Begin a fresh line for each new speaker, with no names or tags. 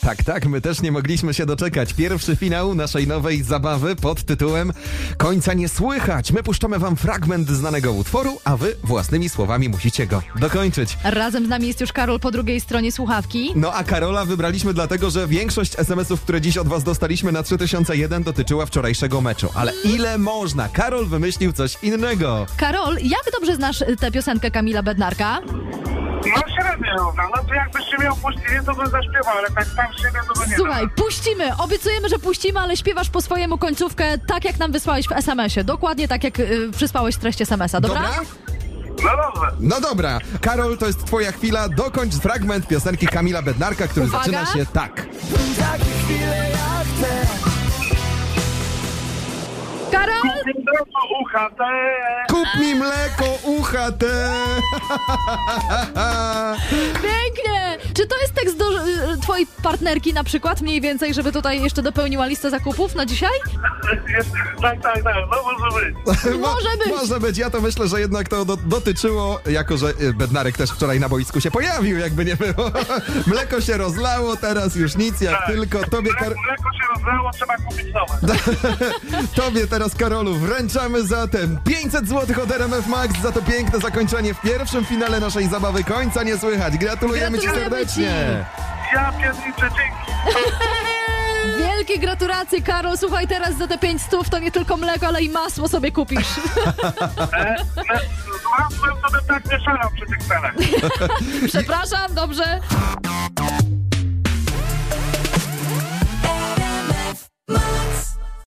Tak, tak, my też nie mogliśmy się doczekać. Pierwszy finał naszej nowej zabawy pod tytułem Końca nie słychać. My puszczamy wam fragment znanego utworu, a wy własnymi słowami musicie go dokończyć.
Razem z nami jest już Karol po drugiej stronie słuchawki.
No a Karola wybraliśmy dlatego, że większość SMS-ów, które dziś od was dostaliśmy na 3001 dotyczyła wczorajszego meczu. Ale ile można? Karol wymyślił coś innego.
Karol, jak dobrze znasz y, tę piosenkę Kamila Bednarka?
No średnio równa, no to jakbyś się miał puścić, to bym zaśpiewał, ale tak sam siebie to bym nie
Słuchaj,
dał.
puścimy, obiecujemy, że puścimy, ale śpiewasz po swojemu końcówkę tak, jak nam wysłałeś w SMS-ie. Dokładnie tak, jak y, przysłałeś treść SMS-a, dobra?
No dobrze.
No dobra, Karol, to jest twoja chwila. Dokończ fragment piosenki Kamila Bednarka, który
Uwaga.
zaczyna się tak.
Takie chwile jak te
Karol,
Dzień dobry, ucha, te...
Kup mi mleko, ucha te.
pięknie! Czy to jest tekst do y, twojej partnerki na przykład, mniej więcej, żeby tutaj jeszcze dopełniła listę zakupów na dzisiaj?
Jest- Tak, tak, tak, no może być.
Może być.
Może być. Ja to myślę, że jednak to do, dotyczyło, jako że y, Bednarek też wczoraj na boisku się pojawił, jakby nie było. Mleko się rozlało, teraz już nic, jak
Tak.
tylko tobie, Kar-
Mleko- Mleko się rozlało, trzeba kupić nowe.
tobie teraz, Karolu, wręczamy zatem 500 zł od RMF Max za to piękne zakończenie w pierwszym finale naszej zabawy. Końca nie słychać. Gratulujemy,
Gratulujemy
ci serdecznie.
Ja pierniczę, dzięki.
Wielkie gratulacje, Karol. Słuchaj, teraz za te 5 stów to nie tylko mleko, ale i masło sobie kupisz.
E, e, Z masłem to bym tak nie szalał przy tych cenach.
Przepraszam, dobrze?